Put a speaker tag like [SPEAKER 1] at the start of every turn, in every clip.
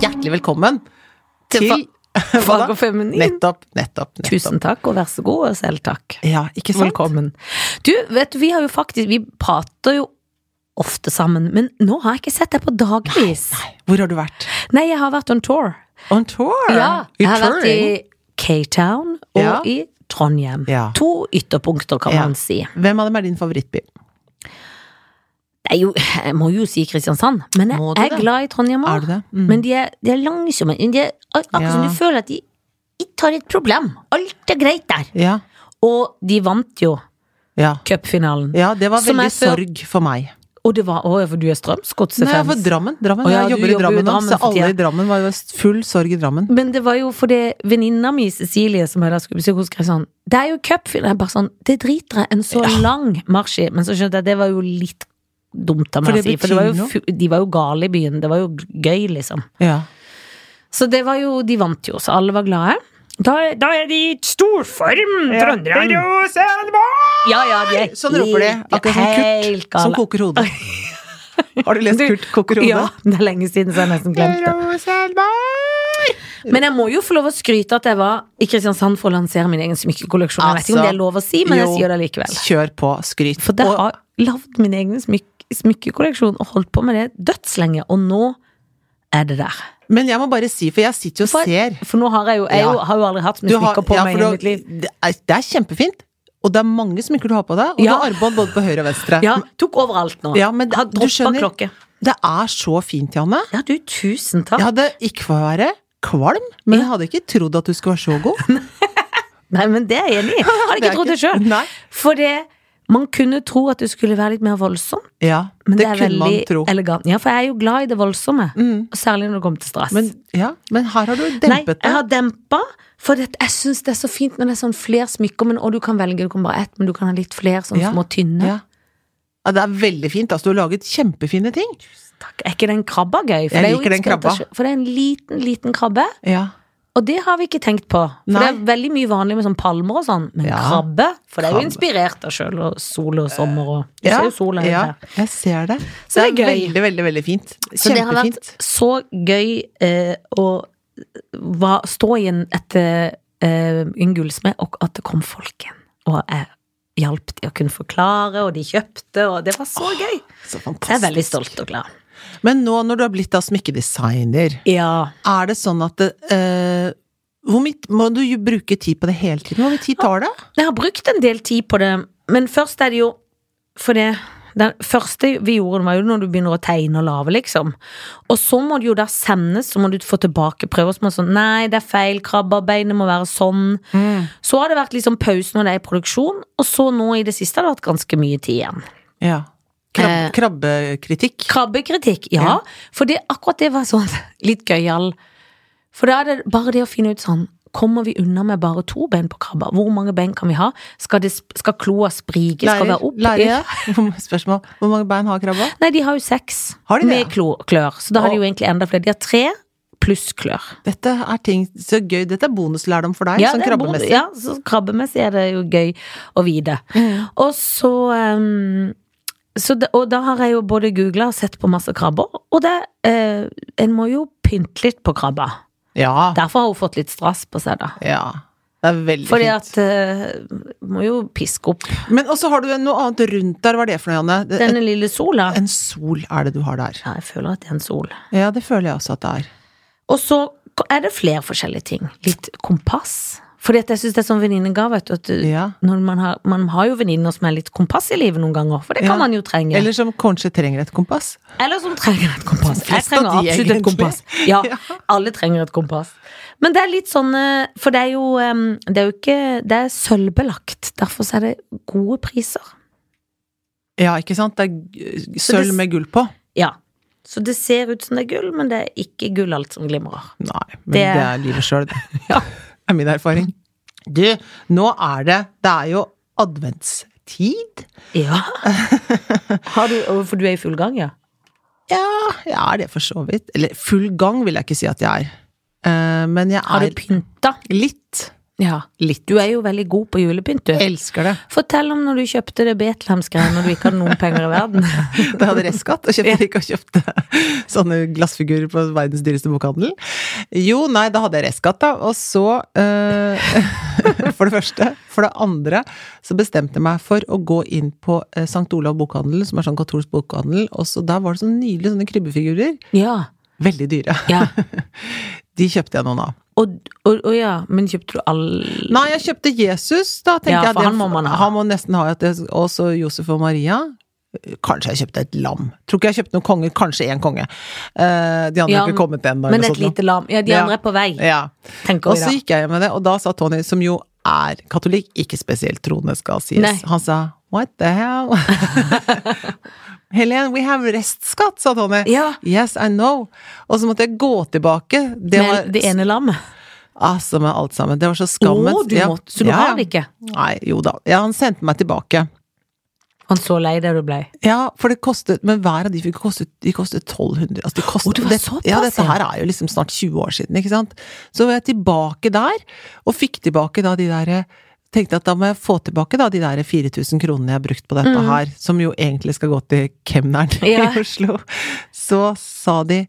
[SPEAKER 1] hjertelig velkommen til
[SPEAKER 2] Til
[SPEAKER 1] Hva
[SPEAKER 2] Fag
[SPEAKER 1] da?
[SPEAKER 2] og feminin.
[SPEAKER 1] Nettopp, nettopp, nettopp.
[SPEAKER 2] Tusen takk, og vær så god, og selv takk.
[SPEAKER 1] Ja, ikke sant?
[SPEAKER 2] Velkommen. Du, vet du, vi har jo faktisk Vi prater jo ofte sammen, men nå har jeg ikke sett deg på dagvis. Nei,
[SPEAKER 1] Hvor har du vært?
[SPEAKER 2] jeg har vært on tour.
[SPEAKER 1] On tour?
[SPEAKER 2] Ja,
[SPEAKER 1] You're
[SPEAKER 2] jeg har vært i
[SPEAKER 1] touring.
[SPEAKER 2] K-Town og
[SPEAKER 1] Ja.
[SPEAKER 2] i Trondheim.
[SPEAKER 1] Ja.
[SPEAKER 2] To ytterpunkter, kan
[SPEAKER 1] Ja.
[SPEAKER 2] man si.
[SPEAKER 1] Hvem av dem er din favorittby?
[SPEAKER 2] Det er jo, jeg må jo si Kristiansand, men jeg
[SPEAKER 1] Må du
[SPEAKER 2] er
[SPEAKER 1] det?
[SPEAKER 2] glad i Trondheim
[SPEAKER 1] Er
[SPEAKER 2] òg.
[SPEAKER 1] du det? Mm.
[SPEAKER 2] Men de er, de er langsomme. De er, akkurat som
[SPEAKER 1] Ja.
[SPEAKER 2] du føler at de ikke har et problem. Alt er greit der.
[SPEAKER 1] Ja.
[SPEAKER 2] Og de vant jo
[SPEAKER 1] Ja.
[SPEAKER 2] cupfinalen.
[SPEAKER 1] ja, det var
[SPEAKER 2] Som
[SPEAKER 1] veldig
[SPEAKER 2] jeg før-
[SPEAKER 1] sorg for meg.
[SPEAKER 2] Og det var Å ja, for du er Strømsgodset-fans?
[SPEAKER 1] Nei, jeg var Drammen. Drammen.
[SPEAKER 2] Å
[SPEAKER 1] jeg
[SPEAKER 2] ja, du
[SPEAKER 1] jobber i
[SPEAKER 2] jobber jo i
[SPEAKER 1] Drammen, nå,
[SPEAKER 2] Drammen
[SPEAKER 1] så
[SPEAKER 2] for
[SPEAKER 1] alle
[SPEAKER 2] tida.
[SPEAKER 1] i Drammen var det var full sorg i Drammen.
[SPEAKER 2] Men det var jo fordi venninna mi, Cecilie, som jeg da skulle besøke, hun skrev sånn Det er jo cupfinale. Jeg bare sånn Det driter jeg en så lang marsj i. Men så skjønte jeg det var jo litt dumt av
[SPEAKER 1] For
[SPEAKER 2] meg
[SPEAKER 1] det
[SPEAKER 2] å si.
[SPEAKER 1] betyr
[SPEAKER 2] For det var jo,
[SPEAKER 1] noe.
[SPEAKER 2] fu- de var jo gale i byen. Det var jo gøy, liksom.
[SPEAKER 1] Ja.
[SPEAKER 2] Så det var jo De vant jo, så alle var glade. Da, da er de i stor form, trønderne. Ja, ja, de er
[SPEAKER 1] Sånn roper de.
[SPEAKER 2] helt-
[SPEAKER 1] Akkurat som
[SPEAKER 2] helt
[SPEAKER 1] Kurt
[SPEAKER 2] gale.
[SPEAKER 1] som koker hodet. Har du lest
[SPEAKER 2] Du-
[SPEAKER 1] Kurt koker hodet?
[SPEAKER 2] Ja, det er lenge siden, så jeg nesten glemte det. Men jeg må jo få lov å skryte at jeg var i Kristiansand for å lansere min egen smykkekolleksjon. Jeg vet ikke om
[SPEAKER 1] Altså,
[SPEAKER 2] det er lov å si, men jeg
[SPEAKER 1] jo.
[SPEAKER 2] sier det likevel.
[SPEAKER 1] Kjør på, skryt.
[SPEAKER 2] For jeg
[SPEAKER 1] Og-
[SPEAKER 2] har lagd min egen smyk smykkekolleksjon og holdt på med det dødslenge, og nå er det der.
[SPEAKER 1] men jeg må bare si, for jeg sitter jo og ser
[SPEAKER 2] For nå har jeg jo Jeg
[SPEAKER 1] Ja.
[SPEAKER 2] jo- har jo aldri hatt mye
[SPEAKER 1] Du har-
[SPEAKER 2] smykker på
[SPEAKER 1] ja, for du
[SPEAKER 2] meg i hele
[SPEAKER 1] har-
[SPEAKER 2] mitt liv.
[SPEAKER 1] Det er, det er kjempefint. Og det er mange smykker du har på deg, og
[SPEAKER 2] Ja.
[SPEAKER 1] du har armbånd både på høyre og venstre.
[SPEAKER 2] Ja, tok overalt nå.
[SPEAKER 1] Ja, men det-
[SPEAKER 2] har
[SPEAKER 1] du
[SPEAKER 2] droppa
[SPEAKER 1] skjønner-
[SPEAKER 2] klokke.
[SPEAKER 1] Det er så fint, Janne.
[SPEAKER 2] Ja, du, tusen takk.
[SPEAKER 1] Jeg hadde ikke for å være kvalm, men jeg hadde ikke trodd at du skulle være så god.
[SPEAKER 2] Nei, men det er jeg enig i. Hadde
[SPEAKER 1] Det
[SPEAKER 2] ikke
[SPEAKER 1] er
[SPEAKER 2] trodd det
[SPEAKER 1] ikke-
[SPEAKER 2] sjøl.
[SPEAKER 1] Nei.
[SPEAKER 2] For det Man kunne tro at det skulle være litt mer voldsomt.
[SPEAKER 1] Ja,
[SPEAKER 2] Men
[SPEAKER 1] det,
[SPEAKER 2] det, er
[SPEAKER 1] kunne man
[SPEAKER 2] veldig
[SPEAKER 1] tro. Mm.
[SPEAKER 2] elegant. Ja, for jeg er jo glad i det voldsomme. Og Særlig når det kommer til stress.
[SPEAKER 1] Men, ja, men her har du
[SPEAKER 2] Nei,
[SPEAKER 1] dempet
[SPEAKER 2] jeg
[SPEAKER 1] det.
[SPEAKER 2] har dempa, for det, jeg syns det er så fint når det er sånn flere smykker, men, og du kan velge, du kan bare ett, men du kan ha litt flere sånn
[SPEAKER 1] Ja,
[SPEAKER 2] små tynne.
[SPEAKER 1] Ja. ja, det er veldig fint. Altså, du har laget kjempefine ting.
[SPEAKER 2] Takk. Er ikke den krabba gøy?
[SPEAKER 1] Jeg
[SPEAKER 2] For det er jo
[SPEAKER 1] liker den
[SPEAKER 2] inspirert av
[SPEAKER 1] krabba.
[SPEAKER 2] sjø- For det er en liten, liten krabbe,
[SPEAKER 1] Ja.
[SPEAKER 2] og det har vi ikke tenkt på. For
[SPEAKER 1] Nei.
[SPEAKER 2] det er veldig mye vanlig med sånn palmer og sånn, men
[SPEAKER 1] Ja.
[SPEAKER 2] krabbe For det er jo
[SPEAKER 1] Krabbe.
[SPEAKER 2] inspirert av sjøl og sol og sommer og Du
[SPEAKER 1] Ja,
[SPEAKER 2] ser jo sola
[SPEAKER 1] ja,
[SPEAKER 2] her.
[SPEAKER 1] jeg ser det.
[SPEAKER 2] Så det er gøy.
[SPEAKER 1] veldig, veldig veldig fint.
[SPEAKER 2] Så det har vært
[SPEAKER 1] Kjempefint.
[SPEAKER 2] så gøy eh, å va, stå i en, et, eh, en gullsmed, og at det kom folk inn. Og jeg hjalp de å kunne forklare, og de kjøpte, og det var så gøy.
[SPEAKER 1] Så
[SPEAKER 2] Så jeg er
[SPEAKER 1] fantastisk.
[SPEAKER 2] veldig stolt og glad.
[SPEAKER 1] Men nå når du har blitt da smykkedesigner,
[SPEAKER 2] Ja.
[SPEAKER 1] er det sånn at det, eh, hvor mye må du jo bruke tid på det hele tiden? Hvor mye tid tar det?
[SPEAKER 2] Jeg har brukt en del tid på det, men først er det jo For det den første vi gjorde, var jo når du begynner å tegne og lage, liksom. Og så må det jo da sendes, så må du få tilbake prøver som er sånn Nei, det er feil, krabbebeinet må være sånn. Så har det vært liksom pause når det er i produksjon, og så nå i det siste har det vært ganske mye tid igjen.
[SPEAKER 1] Ja. Krab,
[SPEAKER 2] Eh.
[SPEAKER 1] krabbekritikk.
[SPEAKER 2] Krabbekritikk, ja.
[SPEAKER 1] Ja.
[SPEAKER 2] For det, akkurat det var sånn litt gøyal. For da er det bare det å finne ut sånn Kommer vi unna med bare to ben på krabba? Hvor mange ben kan vi ha? Skal, det, sp- skal kloa sprike? Skal være opp? Ja.
[SPEAKER 1] lærer. Spørsmål. Hvor mange bein har krabba?
[SPEAKER 2] Nei, de har jo seks
[SPEAKER 1] Har de det,
[SPEAKER 2] med
[SPEAKER 1] ja?
[SPEAKER 2] klo, klør. Så da har de
[SPEAKER 1] Å.
[SPEAKER 2] jo egentlig enda flere. De har tre pluss klør.
[SPEAKER 1] Dette er ting så gøy. Dette er bonuslærdom for deg, sånn
[SPEAKER 2] det er bon-
[SPEAKER 1] krabbemessig.
[SPEAKER 2] Ja, så krabbemessig er det jo gøy å vite.
[SPEAKER 1] Mm.
[SPEAKER 2] Og så, um, så det, Og da har jeg jo både googla og sett på masse krabber, og det eh, En må jo pynte litt på krabba.
[SPEAKER 1] Ja.
[SPEAKER 2] Derfor har hun fått litt strass på seg, da.
[SPEAKER 1] ja. Det er veldig
[SPEAKER 2] Fordi
[SPEAKER 1] fint.
[SPEAKER 2] at eh, Må jo piske opp
[SPEAKER 1] Men også har du noe annet rundt der. Hva er det for noe, Janne? Det-
[SPEAKER 2] denne lille sola.
[SPEAKER 1] En sol er det du har der.
[SPEAKER 2] Ja, jeg føler at det er en sol.
[SPEAKER 1] Ja, det føler jeg også at det er.
[SPEAKER 2] Og så er det flere forskjellige ting. Litt kompass. Fordi at jeg syns det er sånn venninnegave, vet du. At du
[SPEAKER 1] Ja.
[SPEAKER 2] når man, har, man har jo venninner som er litt kompass i livet noen ganger, for det
[SPEAKER 1] Ja.
[SPEAKER 2] kan man jo trenge.
[SPEAKER 1] Eller som kanskje trenger et kompass.
[SPEAKER 2] Eller som trenger et kompass.
[SPEAKER 1] De
[SPEAKER 2] Jeg
[SPEAKER 1] fleste
[SPEAKER 2] trenger
[SPEAKER 1] av de,
[SPEAKER 2] absolutt et
[SPEAKER 1] egentlig.
[SPEAKER 2] kompass. Ja,
[SPEAKER 1] Ja.
[SPEAKER 2] alle trenger et kompass. Men det er litt sånn eh, For det er jo, em, det er jo ikke Det er sølvbelagt. Derfor så er det gode priser.
[SPEAKER 1] Ja, ikke sant? Det er g-
[SPEAKER 2] Så det
[SPEAKER 1] sølv
[SPEAKER 2] s-
[SPEAKER 1] med gull på.
[SPEAKER 2] Ja. Så det ser ut som det er gull, men det er ikke gull alt som glimrer.
[SPEAKER 1] Nei, men
[SPEAKER 2] Det-
[SPEAKER 1] det, er livet sjøl, det.
[SPEAKER 2] Ja.
[SPEAKER 1] er min erfaring. Du, nå er det Det er jo adventstid.
[SPEAKER 2] Ja. Har du, og for du er i full gang, ja?
[SPEAKER 1] Ja, jeg er det for så vidt. Eller full gang vil jeg ikke si at jeg er. Eh, men jeg
[SPEAKER 2] Har du
[SPEAKER 1] er
[SPEAKER 2] pynta?
[SPEAKER 1] litt.
[SPEAKER 2] Ja.
[SPEAKER 1] Litt.
[SPEAKER 2] Du er jo veldig god på julepynt, du.
[SPEAKER 1] Elsker det.
[SPEAKER 2] Fortell om når du kjøpte det Betlehemsgreiene og du ikke hadde noen penger i verden.
[SPEAKER 1] Da jeg hadde restskatt og kjøpte ikke og kjøpte sånne glassfigurer på verdens dyreste bokhandel. Jo, nei, da hadde jeg restskatt, da. Og så eh, For det første. For det andre så bestemte jeg meg for å gå inn på eh, St. Olav bokhandel, som er sånn katolsk bokhandel. Og så der var det så nydelige sånne krybbefigurer.
[SPEAKER 2] Ja.
[SPEAKER 1] Veldig dyre.
[SPEAKER 2] ja.
[SPEAKER 1] De kjøpte jeg noen av.
[SPEAKER 2] Og, og, og ja, men kjøpte du alle
[SPEAKER 1] Nei, jeg kjøpte Jesus, da. tenkte
[SPEAKER 2] Ja,
[SPEAKER 1] jeg at
[SPEAKER 2] for
[SPEAKER 1] jeg-
[SPEAKER 2] han må man ha.
[SPEAKER 1] Han må nesten ha et, og så Josef og Maria. Kanskje jeg kjøpte et lam. Tror ikke jeg kjøpte noen konger. Kanskje én konge. Eh, de andre
[SPEAKER 2] Ja,
[SPEAKER 1] har ikke kommet ennå.
[SPEAKER 2] Men
[SPEAKER 1] eller
[SPEAKER 2] et
[SPEAKER 1] sånt noe.
[SPEAKER 2] lite lam. Ja, de
[SPEAKER 1] Ja.
[SPEAKER 2] andre er på vei,
[SPEAKER 1] Ja.
[SPEAKER 2] tenker
[SPEAKER 1] Og
[SPEAKER 2] vi
[SPEAKER 1] så
[SPEAKER 2] da.
[SPEAKER 1] gikk jeg hjem med det, og da sa Tony, som jo er katolikk, ikke spesielt troende, skal sies,
[SPEAKER 2] Nei.
[SPEAKER 1] han sa what the hell? Helen, we have restskatt, sa Tony.
[SPEAKER 2] Ja.
[SPEAKER 1] Yes, I know. Og så måtte jeg gå tilbake. Det var
[SPEAKER 2] Med det ene lammet.
[SPEAKER 1] altså med alt sammen. Det var så
[SPEAKER 2] Å,
[SPEAKER 1] skammet.
[SPEAKER 2] du
[SPEAKER 1] Ja.
[SPEAKER 2] måtte, så du
[SPEAKER 1] Ja, ja.
[SPEAKER 2] har det ikke?
[SPEAKER 1] Nei, jo da. Ja, han sendte meg tilbake.
[SPEAKER 2] Han så lei deg du ble.
[SPEAKER 1] Ja, for det kostet Men hver av de fikk kostet, de kostet 1200. Altså, de kostet,
[SPEAKER 2] Å, det var
[SPEAKER 1] det-
[SPEAKER 2] såpass,
[SPEAKER 1] ja, dette
[SPEAKER 2] ja.
[SPEAKER 1] her er jo liksom snart 20 år siden, ikke sant. Så var jeg tilbake der, og fikk tilbake da de der Tenkte at da må jeg få tilbake da de der 4000 kronene jeg har brukt på dette her, som jo egentlig skal gå til kemneren
[SPEAKER 2] Ja.
[SPEAKER 1] i Oslo. Så sa de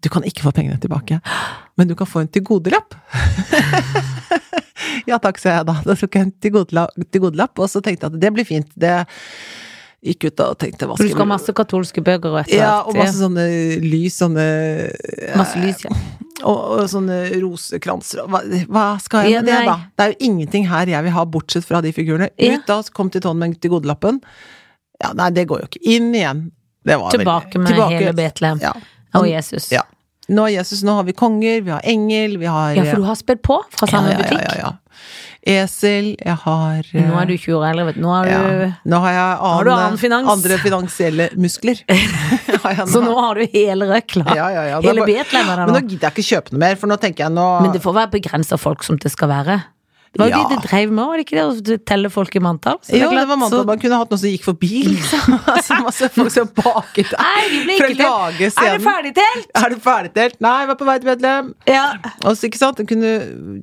[SPEAKER 1] du kan ikke få pengene tilbake, men du kan få en tilgodelapp. ja takk, sa jeg da. Da tok jeg en tilgodela- tilgodelapp, og så tenkte jeg at det blir fint. Det gikk ut da og tenkte hva
[SPEAKER 2] For du skal ha
[SPEAKER 1] vi-
[SPEAKER 2] masse katolske bøker og etter
[SPEAKER 1] ja,
[SPEAKER 2] hvert.
[SPEAKER 1] og masse sånne lys, sånne
[SPEAKER 2] Ja. Masse lys, ja.
[SPEAKER 1] og, og sånne rosekranser og hva, hva skal jeg med
[SPEAKER 2] Ja,
[SPEAKER 1] det,
[SPEAKER 2] nei.
[SPEAKER 1] da? Det er jo ingenting her jeg vil ha, bortsett fra de figurene.
[SPEAKER 2] Ja.
[SPEAKER 1] Ut da, så kom til Tone med tilgodelappen. Ja, nei, det går jo ikke. Inn igjen. Det var
[SPEAKER 2] Tilbake med hele Betlehem
[SPEAKER 1] Ja.
[SPEAKER 2] og Jesus.
[SPEAKER 1] Ja. Nå er Jesus, nå har vi konger, vi har engel, vi har
[SPEAKER 2] Ja, for du har spilt på fra samme butikk.
[SPEAKER 1] Ja, ja, ja. Esel, jeg har eh,
[SPEAKER 2] Nå er du 20 år eldre, vet du. Nå er
[SPEAKER 1] ja.
[SPEAKER 2] du
[SPEAKER 1] Nå har jeg
[SPEAKER 2] har du annen finans.
[SPEAKER 1] andre finansielle muskler. Har jeg
[SPEAKER 2] Så nå har du hele røkla.
[SPEAKER 1] Ja, ja, ja. Det er
[SPEAKER 2] Hele
[SPEAKER 1] bare-
[SPEAKER 2] Betlehem er der
[SPEAKER 1] Men nå
[SPEAKER 2] nå.
[SPEAKER 1] gidder jeg ikke kjøpe noe mer, for nå tenker jeg nå
[SPEAKER 2] Men det får være begrensa folk som det skal være. Det var jo
[SPEAKER 1] Ja.
[SPEAKER 2] de det drev med òg, var det ikke det? Å telle folk i manntall. Så det er
[SPEAKER 1] Jo, det
[SPEAKER 2] klart,
[SPEAKER 1] var mandag,
[SPEAKER 2] så-
[SPEAKER 1] man kunne hatt noen som gikk forbi, liksom. altså, masse folk som baket der.
[SPEAKER 2] Nei, de ble
[SPEAKER 1] For
[SPEAKER 2] ikke
[SPEAKER 1] å lage
[SPEAKER 2] telt. Er det
[SPEAKER 1] scenen.
[SPEAKER 2] ferdigtelt?
[SPEAKER 1] Er du ferdigdelt? Nei, jeg var på vei til Bedlem.
[SPEAKER 2] Ja.
[SPEAKER 1] Og så, ikke sant, den kunne,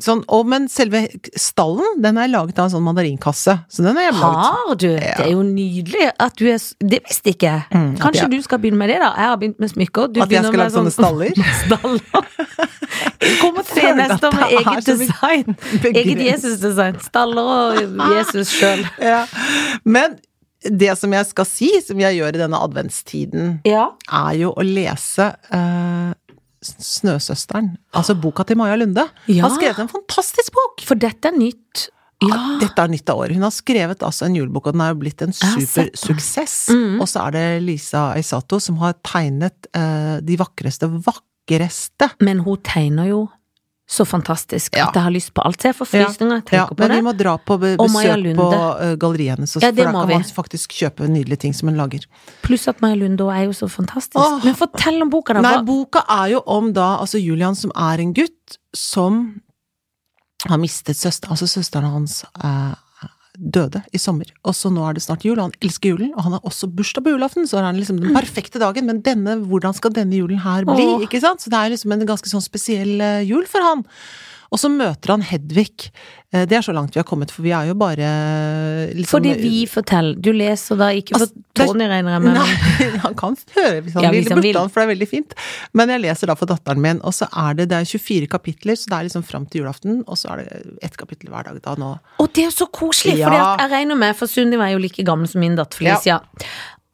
[SPEAKER 1] sånn, å, men selve stallen, den er laget av en sånn mandarinkasse, så den er hjemmelaget.
[SPEAKER 2] Har du? Det er jo nydelig at du er s- Det visste ikke jeg. Kanskje
[SPEAKER 1] Mm, jeg-
[SPEAKER 2] du skal begynne med det, da? Jeg har begynt med smykker. Du
[SPEAKER 1] At jeg
[SPEAKER 2] begynner
[SPEAKER 1] skal
[SPEAKER 2] med sånn
[SPEAKER 1] lage sånne staller?
[SPEAKER 2] staller. Kom og se
[SPEAKER 1] Føler at
[SPEAKER 2] neste år med
[SPEAKER 1] det er
[SPEAKER 2] eget
[SPEAKER 1] så mye
[SPEAKER 2] design. Eget
[SPEAKER 1] begrep.
[SPEAKER 2] Jesus-design. Staller og Jesus sjøl.
[SPEAKER 1] Ja. Men det som jeg skal si, som jeg gjør i denne adventstiden,
[SPEAKER 2] Ja.
[SPEAKER 1] er jo å lese eh, Snøsøsteren, altså boka til Maja Lunde.
[SPEAKER 2] Ja.
[SPEAKER 1] Har skrevet en fantastisk bok! Ah,
[SPEAKER 2] For dette er nytt. Ja.
[SPEAKER 1] Dette er nytt av året. Hun har skrevet altså en julebok, og den er jo blitt en
[SPEAKER 2] Jeg har sett den.
[SPEAKER 1] supersuksess.
[SPEAKER 2] Mhm.
[SPEAKER 1] Og så er det Lisa Aisato som har tegnet eh, de vakreste, vakreste
[SPEAKER 2] Men hun tegner jo så fantastisk
[SPEAKER 1] Ja.
[SPEAKER 2] at jeg har lyst på alt. Så jeg får frysninger. Jeg
[SPEAKER 1] Ja,
[SPEAKER 2] tenker på
[SPEAKER 1] men vi
[SPEAKER 2] det.
[SPEAKER 1] må dra på be
[SPEAKER 2] Og Maja
[SPEAKER 1] besøk på
[SPEAKER 2] Lunde.
[SPEAKER 1] eh, galleriet hennes, og-
[SPEAKER 2] Ja,
[SPEAKER 1] for
[SPEAKER 2] det
[SPEAKER 1] da
[SPEAKER 2] må
[SPEAKER 1] kan
[SPEAKER 2] vi.
[SPEAKER 1] man faktisk kjøpe nydelige ting som hun lager.
[SPEAKER 2] Pluss at Maja Lunde også er jo så fantastisk.
[SPEAKER 1] Åh.
[SPEAKER 2] Men fortell om boka, da.
[SPEAKER 1] Nei,
[SPEAKER 2] Hva-
[SPEAKER 1] boka er jo om da altså Julian som er en gutt som har mistet søsteren Altså søsteren hans eh, døde i sommer, og så nå er det snart jul, og han elsker julen, og han har også bursdag på julaften, så er han liksom den perfekte dagen, men denne, hvordan skal denne julen her bli,
[SPEAKER 2] Mm. Åh.
[SPEAKER 1] ikke sant? Så det er liksom en ganske sånn spesiell eh, jul for han. Og så møter han Hedvig. Eh, Det er så langt vi har kommet, for vi er jo bare liksom,
[SPEAKER 2] Fordi vi forteller. Du leser da ikke for
[SPEAKER 1] Altså, det er-
[SPEAKER 2] Tony, regner jeg med. men-
[SPEAKER 1] Nei, han kan høre hvis han
[SPEAKER 2] Ja,
[SPEAKER 1] vil.
[SPEAKER 2] hvis
[SPEAKER 1] Det
[SPEAKER 2] han
[SPEAKER 1] burde
[SPEAKER 2] vil.
[SPEAKER 1] han, for det er veldig fint. Men jeg leser da for datteren min, og så er det, det er 24 kapitler, så det er liksom fram til julaften, og så er det ett kapittel hver dag da nå.
[SPEAKER 2] Og det er jo så koselig,
[SPEAKER 1] Ja.
[SPEAKER 2] fordi at jeg regner med For Sunniva er jo like gammel som min datter Felicia.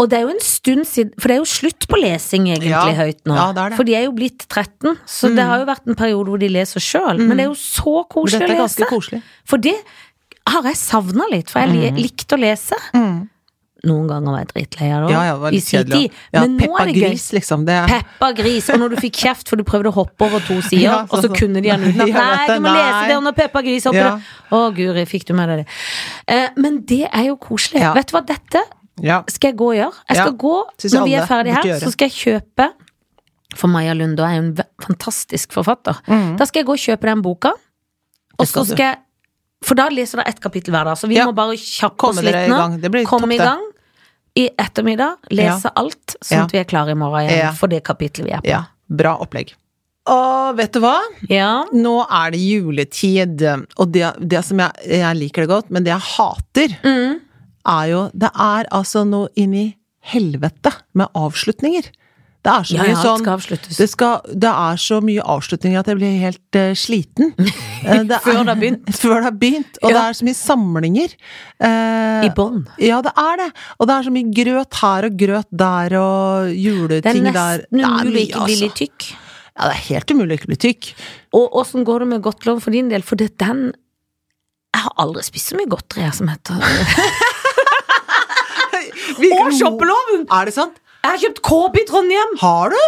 [SPEAKER 2] Og det er jo en stund siden For det er jo slutt på lesing egentlig
[SPEAKER 1] Ja.
[SPEAKER 2] høyt nå.
[SPEAKER 1] Ja, det er det. Mm.
[SPEAKER 2] For de er jo blitt 13, så det har jo vært en periode hvor de leser sjøl. Men det er jo så
[SPEAKER 1] Men
[SPEAKER 2] koselig
[SPEAKER 1] dette
[SPEAKER 2] å
[SPEAKER 1] er
[SPEAKER 2] lese.
[SPEAKER 1] ganske koselig.
[SPEAKER 2] For det har jeg savna litt, for jeg
[SPEAKER 1] Mm.
[SPEAKER 2] li- likte å lese. Noen ganger var jeg dritlei av det
[SPEAKER 1] Ja, ja, det
[SPEAKER 2] også,
[SPEAKER 1] var
[SPEAKER 2] i
[SPEAKER 1] litt
[SPEAKER 2] sin
[SPEAKER 1] kjedelig.
[SPEAKER 2] tid.
[SPEAKER 1] Ja,
[SPEAKER 2] Men nå
[SPEAKER 1] Peppa
[SPEAKER 2] er det gøy.
[SPEAKER 1] Gris, liksom. Det er
[SPEAKER 2] Peppa Gris, og når du fikk kjeft for du prøvde å hoppe over to sider,
[SPEAKER 1] Ja,
[SPEAKER 2] og
[SPEAKER 1] sånn,
[SPEAKER 2] så
[SPEAKER 1] sånn.
[SPEAKER 2] kunne de den uten at
[SPEAKER 1] Ja, jeg vet
[SPEAKER 2] Nei, du
[SPEAKER 1] det,
[SPEAKER 2] må
[SPEAKER 1] nei.
[SPEAKER 2] lese det når Peppa Gris hopper
[SPEAKER 1] Ja.
[SPEAKER 2] Å, guri, fikk du med deg det? Eh, men det er jo koselig.
[SPEAKER 1] Ja.
[SPEAKER 2] Vet du hva, dette
[SPEAKER 1] Ja.
[SPEAKER 2] skal jeg gå og gjøre. Jeg skal
[SPEAKER 1] Ja.
[SPEAKER 2] gå,
[SPEAKER 1] Synes jeg
[SPEAKER 2] når vi
[SPEAKER 1] alle
[SPEAKER 2] er
[SPEAKER 1] burde
[SPEAKER 2] ferdige her,
[SPEAKER 1] gjøre.
[SPEAKER 2] så skal jeg kjøpe For Maja Lunde er jo en ve- fantastisk forfatter. Da skal jeg gå og kjøpe den boka,
[SPEAKER 1] Mm.
[SPEAKER 2] og
[SPEAKER 1] Det
[SPEAKER 2] så
[SPEAKER 1] skal du.
[SPEAKER 2] skal jeg For da leser dere ett kapittel hver dag, så vi
[SPEAKER 1] Ja.
[SPEAKER 2] må bare kjappe oss
[SPEAKER 1] Komme
[SPEAKER 2] litt
[SPEAKER 1] dere i
[SPEAKER 2] nå.
[SPEAKER 1] gang. Det blir topp,
[SPEAKER 2] Kom i
[SPEAKER 1] det.
[SPEAKER 2] gang i ettermiddag, lese alt, sånn
[SPEAKER 1] Ja.
[SPEAKER 2] at vi er klare i morgen igjen
[SPEAKER 1] Ja.
[SPEAKER 2] for det kapittelet vi er på.
[SPEAKER 1] Ja. Bra opplegg. Og vet du hva?
[SPEAKER 2] Ja.
[SPEAKER 1] Nå er det juletid, og det, det som jeg, jeg liker det godt, men det jeg hater,
[SPEAKER 2] Mm.
[SPEAKER 1] er jo Det er altså noe inn i helvete med avslutninger. Det er så
[SPEAKER 2] Ja,
[SPEAKER 1] mye
[SPEAKER 2] ja, det
[SPEAKER 1] sånn
[SPEAKER 2] skal avsluttes.
[SPEAKER 1] det, skal, det er så mye avslutninger at jeg blir helt eh, sliten. Eh, det er-
[SPEAKER 2] Før det har begynt.
[SPEAKER 1] Før det har begynt. Og det
[SPEAKER 2] Ja.
[SPEAKER 1] er så mye samlinger. Eh,
[SPEAKER 2] I bånn.
[SPEAKER 1] ja, det er det. Og det er så mye grøt her og grøt der og
[SPEAKER 2] Det er
[SPEAKER 1] juleting der.
[SPEAKER 2] nesten
[SPEAKER 1] mye, altså.
[SPEAKER 2] umulig å ikke bli litt tykk.
[SPEAKER 1] Ja, det er helt umulig å ikke bli tykk.
[SPEAKER 2] Og åssen går det med godt lov for din del? For det er den Jeg har aldri spist så mye godteri jeg, som heter Og shoppeloven!
[SPEAKER 1] Er det sant?
[SPEAKER 2] Jeg har kjøpt KB i Trondheim!
[SPEAKER 1] Har du?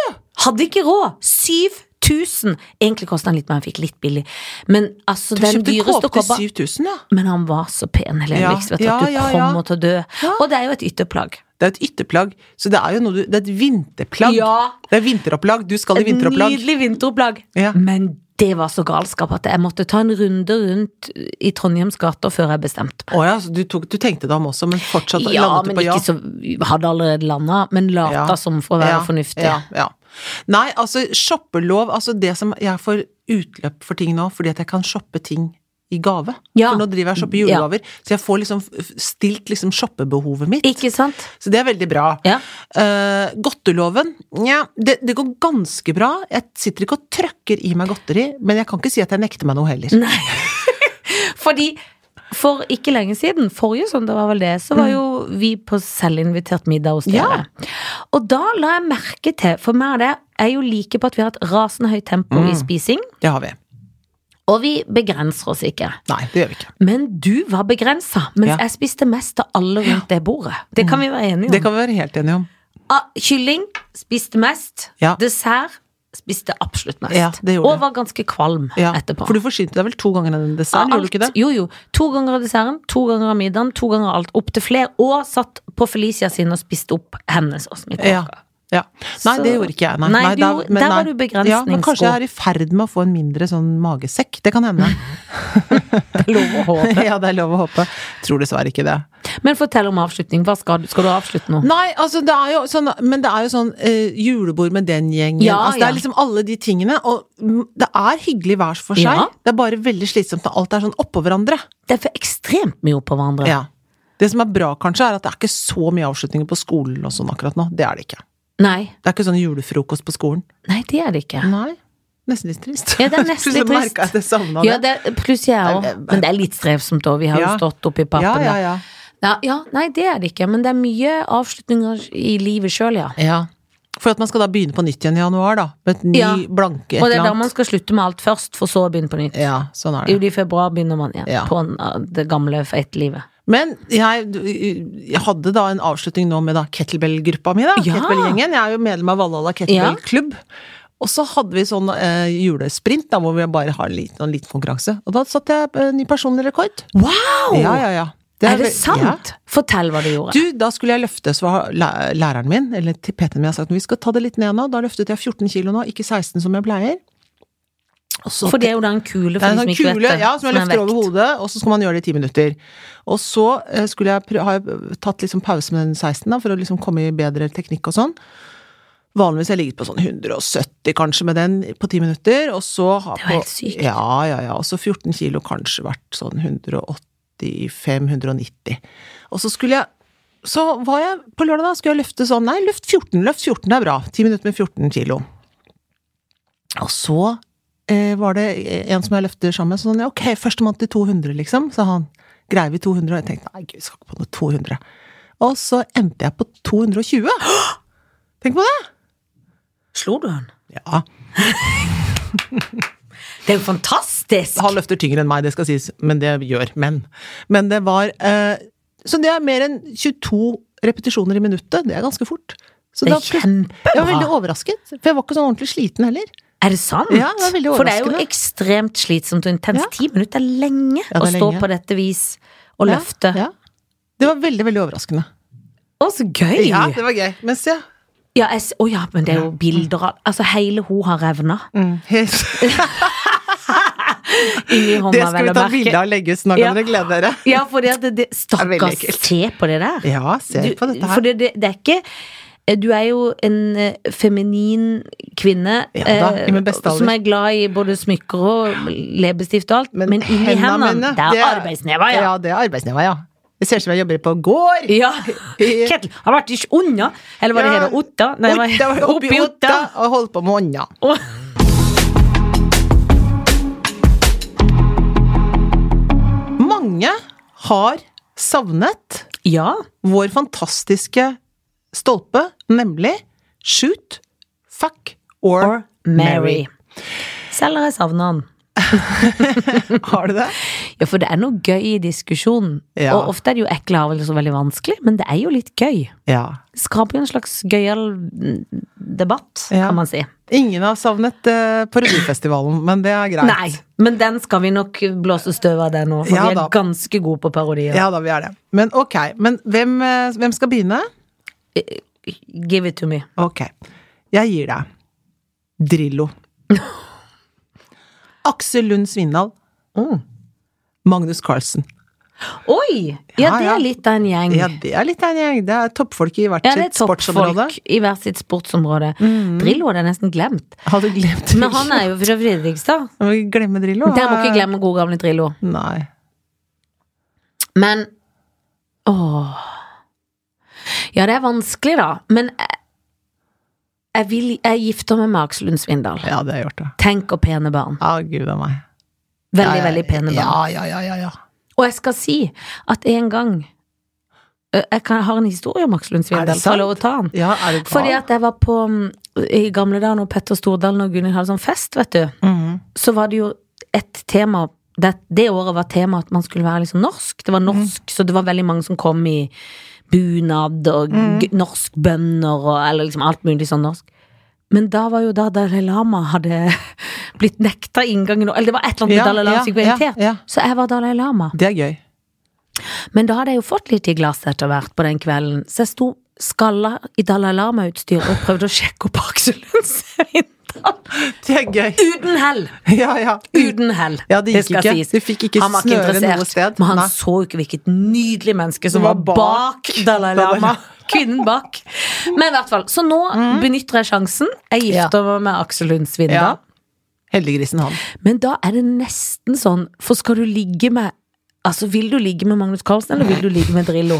[SPEAKER 2] Hadde ikke råd. 7000! Egentlig kosta den litt mer, jeg fikk litt billig. Men altså,
[SPEAKER 1] Du
[SPEAKER 2] den
[SPEAKER 1] kjøpte
[SPEAKER 2] dyreste
[SPEAKER 1] kåpe
[SPEAKER 2] kobba
[SPEAKER 1] til 7000, ja.
[SPEAKER 2] Men han var så pen, Helene
[SPEAKER 1] Ja,
[SPEAKER 2] Blix, vet du,
[SPEAKER 1] ja,
[SPEAKER 2] at du
[SPEAKER 1] ja, ja.
[SPEAKER 2] kommer til å dø.
[SPEAKER 1] Ja.
[SPEAKER 2] Og det er jo et ytterplagg.
[SPEAKER 1] Det er et ytterplagg, så det er jo noe du Det er et vinterplagg.
[SPEAKER 2] Ja.
[SPEAKER 1] Det er vinteropplag. Du skal i
[SPEAKER 2] Et
[SPEAKER 1] vinteropplag.
[SPEAKER 2] nydelig vinteropplag.
[SPEAKER 1] Ja.
[SPEAKER 2] Men det var så galskap at jeg måtte ta en runde rundt i Trondheims gater før jeg bestemte meg.
[SPEAKER 1] Å ja, så du, tok, du tenkte deg om også, men fortsatt
[SPEAKER 2] Ja,
[SPEAKER 1] landet du
[SPEAKER 2] men
[SPEAKER 1] på ja?
[SPEAKER 2] ikke så Hadde allerede landa, men lata
[SPEAKER 1] Ja.
[SPEAKER 2] som for å være
[SPEAKER 1] Ja,
[SPEAKER 2] fornuftig.
[SPEAKER 1] Ja, ja. Nei, altså shoppelov Altså det som jeg får utløp for ting nå, fordi at jeg kan shoppe ting i gave.
[SPEAKER 2] Ja.
[SPEAKER 1] For nå driver jeg og shopper julegaver, så jeg får liksom f- stilt liksom shoppebehovet mitt.
[SPEAKER 2] Ikke sant?
[SPEAKER 1] Så det er veldig bra.
[SPEAKER 2] Ja.
[SPEAKER 1] Eh, godteloven, nja, det, det går ganske bra. Jeg sitter ikke og trøkker i meg godteri, men jeg kan ikke si at jeg nekter meg noe heller.
[SPEAKER 2] Nei. Fordi for ikke lenge siden, forrige søndag var vel det, så
[SPEAKER 1] Mm.
[SPEAKER 2] var jo vi på selvinvitert middag hos dere. Og da la jeg merke til, for meg og det er jo like på at vi har et rasende høyt tempo
[SPEAKER 1] Mm.
[SPEAKER 2] i spising,
[SPEAKER 1] Det har vi.
[SPEAKER 2] og vi begrenser oss ikke.
[SPEAKER 1] Nei, det gjør vi ikke.
[SPEAKER 2] Men du var begrensa, mens
[SPEAKER 1] Ja.
[SPEAKER 2] jeg spiste mest av alle rundt det bordet. Det kan vi være enige om.
[SPEAKER 1] Det kan vi være helt enige om.
[SPEAKER 2] Ah, kylling spiste mest.
[SPEAKER 1] Ja.
[SPEAKER 2] Dessert spiste absolutt mest.
[SPEAKER 1] Ja, det gjorde
[SPEAKER 2] og var ganske kvalm
[SPEAKER 1] Ja.
[SPEAKER 2] etterpå.
[SPEAKER 1] For du forsynte deg vel to ganger den
[SPEAKER 2] Av
[SPEAKER 1] desserten, gjorde du
[SPEAKER 2] alt.
[SPEAKER 1] ikke det?
[SPEAKER 2] Jo, jo. To ganger av desserten, to ganger av middagen, to ganger av alt. Opptil flere. Og satt på Felicia sin og spiste opp hennes og smitt
[SPEAKER 1] Ja. ja. Nei,
[SPEAKER 2] Så-
[SPEAKER 1] det gjorde ikke jeg. Nei,
[SPEAKER 2] Nei, du gjorde- der var du
[SPEAKER 1] Ja, men kanskje jeg
[SPEAKER 2] begrensningsgod.
[SPEAKER 1] er i ferd med å få en mindre sånn magesekk. Det kan hende.
[SPEAKER 2] Lov å håpe.
[SPEAKER 1] ja, det er lov å håpe. Tror dessverre ikke det.
[SPEAKER 2] Men fortell om avslutning. Hva skal du? Skal du avslutte nå?
[SPEAKER 1] Nei, altså det er jo sånn Men det er jo sånn eh, julebord med den gjengen.
[SPEAKER 2] Ja,
[SPEAKER 1] altså, det
[SPEAKER 2] ja.
[SPEAKER 1] er liksom alle de tingene. Og mm, det er hyggelig hver for seg.
[SPEAKER 2] Ja.
[SPEAKER 1] Det er bare veldig slitsomt når alt er sånn oppå hverandre.
[SPEAKER 2] Det er for ekstremt mye oppå hverandre.
[SPEAKER 1] Ja. Det som er bra, kanskje, er at det er ikke så mye avslutninger på skolen og sånn akkurat nå. Det er det ikke.
[SPEAKER 2] Nei.
[SPEAKER 1] Det er ikke sånn julefrokost på skolen.
[SPEAKER 2] Nei, det er det ikke.
[SPEAKER 1] Nei. Nesten litt trist.
[SPEAKER 2] Ja, det er nesten litt
[SPEAKER 1] Plutselig merket jeg at jeg savna
[SPEAKER 2] Ja,
[SPEAKER 1] det.
[SPEAKER 2] det, pluss jeg òg. Men det er litt strevsomt òg. Vi har jo
[SPEAKER 1] Ja.
[SPEAKER 2] stått oppi pappen.
[SPEAKER 1] Ja, ja,
[SPEAKER 2] der.
[SPEAKER 1] ja.
[SPEAKER 2] Ja, ja, nei, det er det ikke. Men det er mye avslutninger i livet sjøl, ja.
[SPEAKER 1] ja. For at man skal da begynne på nytt igjen i januar, da. Med et ny
[SPEAKER 2] Ja.
[SPEAKER 1] blanke et
[SPEAKER 2] Og
[SPEAKER 1] eller
[SPEAKER 2] det er da man
[SPEAKER 1] annet.
[SPEAKER 2] skal slutte med alt først, for så å begynne på nytt.
[SPEAKER 1] Ja, sånn er det.
[SPEAKER 2] Juli, februar begynner man igjen
[SPEAKER 1] Ja.
[SPEAKER 2] på en- eh, det gamle, feite livet.
[SPEAKER 1] Men jeg, jeg hadde da en avslutning nå med da kettlebell-gruppa mi, da.
[SPEAKER 2] Ja.
[SPEAKER 1] Kettlebell-gjengen. Jeg er jo medlem av Valhalla kettlebell-klubb. Og så hadde vi sånn eh, julesprint, da, hvor vi bare har en liten, en liten konkurranse. Og da satte jeg eh, ny personlig rekord.
[SPEAKER 2] Wow!
[SPEAKER 1] Ja, ja, ja.
[SPEAKER 2] er, det
[SPEAKER 1] vel-
[SPEAKER 2] sant?
[SPEAKER 1] Ja.
[SPEAKER 2] Fortell hva du gjorde.
[SPEAKER 1] Du, da skulle jeg løfte, så har læ- læreren min, eller til PT-en min, har sagt vi skal ta det litt ned nå. Da løftet jeg 14 kilo nå, ikke 16 som jeg pleier. Og så
[SPEAKER 2] for det er jo da en kule,
[SPEAKER 1] det er
[SPEAKER 2] for de
[SPEAKER 1] en
[SPEAKER 2] som
[SPEAKER 1] sånn
[SPEAKER 2] ikke
[SPEAKER 1] kule
[SPEAKER 2] vet det.
[SPEAKER 1] ja, som jeg
[SPEAKER 2] er
[SPEAKER 1] løfter over
[SPEAKER 2] vekt.
[SPEAKER 1] hodet, og så skal man gjøre det i ti minutter. Og så eh, skulle jeg prø- har jeg tatt liksom pause med den 16 da, for å liksom komme i bedre teknikk og sånn. Vanligvis har jeg ligget på sånn 170 kanskje med den på ti minutter, og så har
[SPEAKER 2] Det er jo
[SPEAKER 1] på-
[SPEAKER 2] helt sykt.
[SPEAKER 1] Ja, ja, ja. Og så 14 kilo kanskje vært sånn 185-190. Og så skulle jeg Så var jeg på lørdag, da, skulle jeg løfte sånn Nei, løft 14, løft 14 er bra. Ti minutter med 14 kilo. Og så eh, var det en som jeg løfter sammen med, sånn ja, ok, førstemann til 200, liksom, sa han. Greier vi 200? Og jeg tenkte nei, gud, jeg skal ikke på noe 200. Og så endte jeg på 220. Tenk på det!
[SPEAKER 2] Slo du han?
[SPEAKER 1] Ja,
[SPEAKER 2] Det er jo fantastisk!
[SPEAKER 1] han løfter tyngre enn meg, det skal sies, men det gjør menn. Men det var eh, Så det er mer enn 22 repetisjoner i minuttet. Det er ganske fort. Så
[SPEAKER 2] Det
[SPEAKER 1] da
[SPEAKER 2] er
[SPEAKER 1] plutselig-
[SPEAKER 2] kjempebra.
[SPEAKER 1] Jeg var veldig overrasket, for jeg var ikke sånn ordentlig sliten heller.
[SPEAKER 2] Er det sant?
[SPEAKER 1] Ja, det er veldig
[SPEAKER 2] For det er jo
[SPEAKER 1] overraskende.
[SPEAKER 2] ekstremt slitsomt og intenst.
[SPEAKER 1] Ja.
[SPEAKER 2] Ti minutter er lenge
[SPEAKER 1] Ja, det er
[SPEAKER 2] å stå
[SPEAKER 1] lenge.
[SPEAKER 2] på dette vis og løfte.
[SPEAKER 1] Ja, ja. Det var veldig, veldig overraskende.
[SPEAKER 2] Å, så gøy!
[SPEAKER 1] Ja, det var gøy. Men se.
[SPEAKER 2] Ja, jeg, s- å ja, men det er jo bilder av Altså, hele hun har revna
[SPEAKER 1] Helt
[SPEAKER 2] inni
[SPEAKER 1] Det
[SPEAKER 2] hånda,
[SPEAKER 1] skal
[SPEAKER 2] vel
[SPEAKER 1] vi
[SPEAKER 2] å
[SPEAKER 1] ta bilde
[SPEAKER 2] merke.
[SPEAKER 1] av og legge ut, så nå kan
[SPEAKER 2] Ja.
[SPEAKER 1] dere glede dere.
[SPEAKER 2] Ja, for det, det, det
[SPEAKER 1] veldig
[SPEAKER 2] Stakkars,
[SPEAKER 1] ekkelt.
[SPEAKER 2] se på det der.
[SPEAKER 1] Ja, se
[SPEAKER 2] Du-
[SPEAKER 1] på dette
[SPEAKER 2] For
[SPEAKER 1] her.
[SPEAKER 2] det, det, det er ikke eh, Du er jo en eh, feminin kvinne eh,
[SPEAKER 1] Ja da, i min beste alder.
[SPEAKER 2] som er glad i både smykker og leppestift og alt, men, inni
[SPEAKER 1] hendene
[SPEAKER 2] hendene,
[SPEAKER 1] mine,
[SPEAKER 2] det er arbeidsneva, ja.
[SPEAKER 1] Ja, det er arbeidsneva, ja. Det ser ut som jeg jobber på gård.
[SPEAKER 2] Ja. Kettel har vært ikke unna, eller hva det
[SPEAKER 1] Ja.
[SPEAKER 2] heter, Otta? Nei, hva-
[SPEAKER 1] Otta, oppi Otta, og holdt på med ånda.
[SPEAKER 2] Å.
[SPEAKER 1] Mange har savnet
[SPEAKER 2] Ja.
[SPEAKER 1] vår fantastiske stolpe, nemlig shoot, fuck or,
[SPEAKER 2] Or Mary. Selv har jeg savna han.
[SPEAKER 1] Har du det?
[SPEAKER 2] Ja, for det er noe gøy i diskusjonen.
[SPEAKER 1] Ja.
[SPEAKER 2] Og ofte er det jo ekle avgjørelser så veldig vanskelig, men det er jo litt gøy.
[SPEAKER 1] Ja.
[SPEAKER 2] Det skaper jo en slags gøyal mm, debatt,
[SPEAKER 1] Ja.
[SPEAKER 2] kan man si.
[SPEAKER 1] Ingen har savnet eh, parodifestivalen, men det er greit.
[SPEAKER 2] Nei, men den skal vi nok blåse støv av det nå, for
[SPEAKER 1] Ja
[SPEAKER 2] vi er
[SPEAKER 1] da.
[SPEAKER 2] ganske gode på parodier.
[SPEAKER 1] Ja da, vi er det. Men ok. Men hvem, eh, hvem skal begynne?
[SPEAKER 2] Give it to me.
[SPEAKER 1] Ok. Jeg gir deg Drillo. Aksel Lund Svindal.
[SPEAKER 2] Mm.
[SPEAKER 1] Magnus Carlsen.
[SPEAKER 2] Oi! Ja,
[SPEAKER 1] Ja,
[SPEAKER 2] det
[SPEAKER 1] ja.
[SPEAKER 2] er litt av en gjeng.
[SPEAKER 1] Ja, det er litt av en gjeng. Det er toppfolk i hvert
[SPEAKER 2] Mm. Ja, det er
[SPEAKER 1] sitt sportsområde. Mm.
[SPEAKER 2] toppfolk i hvert sitt sportsområde. Drillo hadde jeg nesten glemt.
[SPEAKER 1] Har du glemt
[SPEAKER 2] Men han er jo fra Fredrikstad.
[SPEAKER 1] Må vi glemme Drillo?
[SPEAKER 2] Dere må ikke glemme gode gamle Drillo.
[SPEAKER 1] Nei.
[SPEAKER 2] Men Åh. Ja, det er vanskelig, da. Men jeg, jeg, vil, jeg gifter meg med Aksel Lund Svindal.
[SPEAKER 1] Ja, det har jeg gjort, det.
[SPEAKER 2] Tenk og pene barn.
[SPEAKER 1] Ja, gud a meg.
[SPEAKER 2] Veldig,
[SPEAKER 1] Ja, ja,
[SPEAKER 2] veldig pene barn.
[SPEAKER 1] Ja, ja, ja, ja, ja.
[SPEAKER 2] Og jeg skal si at en gang eh, Jeg kan, har en historie om Aksel Lund
[SPEAKER 1] Er det
[SPEAKER 2] Svindal.
[SPEAKER 1] sant?
[SPEAKER 2] Får jeg lov å ta den?
[SPEAKER 1] ja er det
[SPEAKER 2] Fordi at jeg var på mm, I gamle dager når Petter Stordalen og Gunhild hadde sånn fest, vet du,
[SPEAKER 1] Mhm.
[SPEAKER 2] så var det jo et tema det, det året var temaet at man skulle være liksom norsk. Det var norsk,
[SPEAKER 1] Mm.
[SPEAKER 2] så det var veldig mange som kom i bunad og
[SPEAKER 1] Mm.
[SPEAKER 2] g- norsk bønder og eller liksom alt mulig sånn norsk. Men da var jo da Dalai Lama hadde blitt nekta inngangen Eller det var et eller annet med
[SPEAKER 1] Ja,
[SPEAKER 2] Dalai Lama
[SPEAKER 1] ja,
[SPEAKER 2] som ikke ble
[SPEAKER 1] ja,
[SPEAKER 2] invitert.
[SPEAKER 1] ja.
[SPEAKER 2] Så jeg var Dalai Lama.
[SPEAKER 1] Det er gøy.
[SPEAKER 2] Men da hadde jeg jo fått litt i glasset etter hvert på den kvelden, så jeg sto skalla i Dalai Lama-utstyr og prøvde å sjekke opp Aksel Lund Svindal.
[SPEAKER 1] Det er gøy.
[SPEAKER 2] Uten hell!
[SPEAKER 1] Ja, ja.
[SPEAKER 2] Uten hell.
[SPEAKER 1] Ja, det gikk
[SPEAKER 2] skal
[SPEAKER 1] ikke.
[SPEAKER 2] sies.
[SPEAKER 1] Du fikk ikke
[SPEAKER 2] Han var
[SPEAKER 1] snøre
[SPEAKER 2] interessert,
[SPEAKER 1] noe sted.
[SPEAKER 2] Men han
[SPEAKER 1] Nei.
[SPEAKER 2] så jo ikke hvilket nydelig menneske som
[SPEAKER 1] Som var
[SPEAKER 2] var bak,
[SPEAKER 1] bak
[SPEAKER 2] Dalai
[SPEAKER 1] Dalai
[SPEAKER 2] Lama.
[SPEAKER 1] Lama. Mm.
[SPEAKER 2] Kvinnen bak. Men i hvert fall. Så nå benytter jeg sjansen. Jeg gifter meg med Aksel Lund
[SPEAKER 1] Ja.
[SPEAKER 2] Svindal.
[SPEAKER 1] Heldiggrisen han.
[SPEAKER 2] Men da er det nesten sånn, for skal du ligge med Altså, vil du ligge med Magnus Carlsen, eller vil du ligge med Drillo?